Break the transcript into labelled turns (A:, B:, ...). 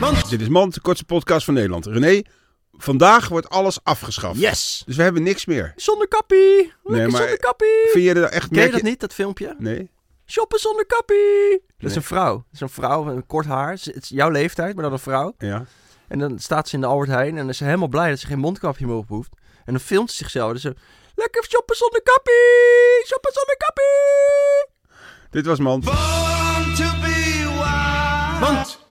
A: Mand. Dit is Mand, de kortste podcast van Nederland. René, vandaag wordt alles afgeschaft.
B: Yes!
A: Dus we hebben niks meer.
B: Zonder kappie! Lekker
A: Nee, maar-
B: zonder kappie!
A: Vind je dat echt...
B: Ken je
A: merk
B: dat niet, dat filmpje?
A: Nee?
B: Shoppen zonder kappie! Dat is
A: Nee.
B: een vrouw. Dat is een vrouw met een kort haar. Ze- Het is jouw leeftijd, maar dan een vrouw.
A: Ja.
B: En dan staat ze in de Albert Heijn en is ze helemaal blij dat ze geen mondkapje meer op hoeft. En dan filmt ze zichzelf. Dus ze... Lekker shoppen zonder kappie! Shoppen zonder kappie!
A: Dit was Mand.
C: Born to be wild.
B: Want...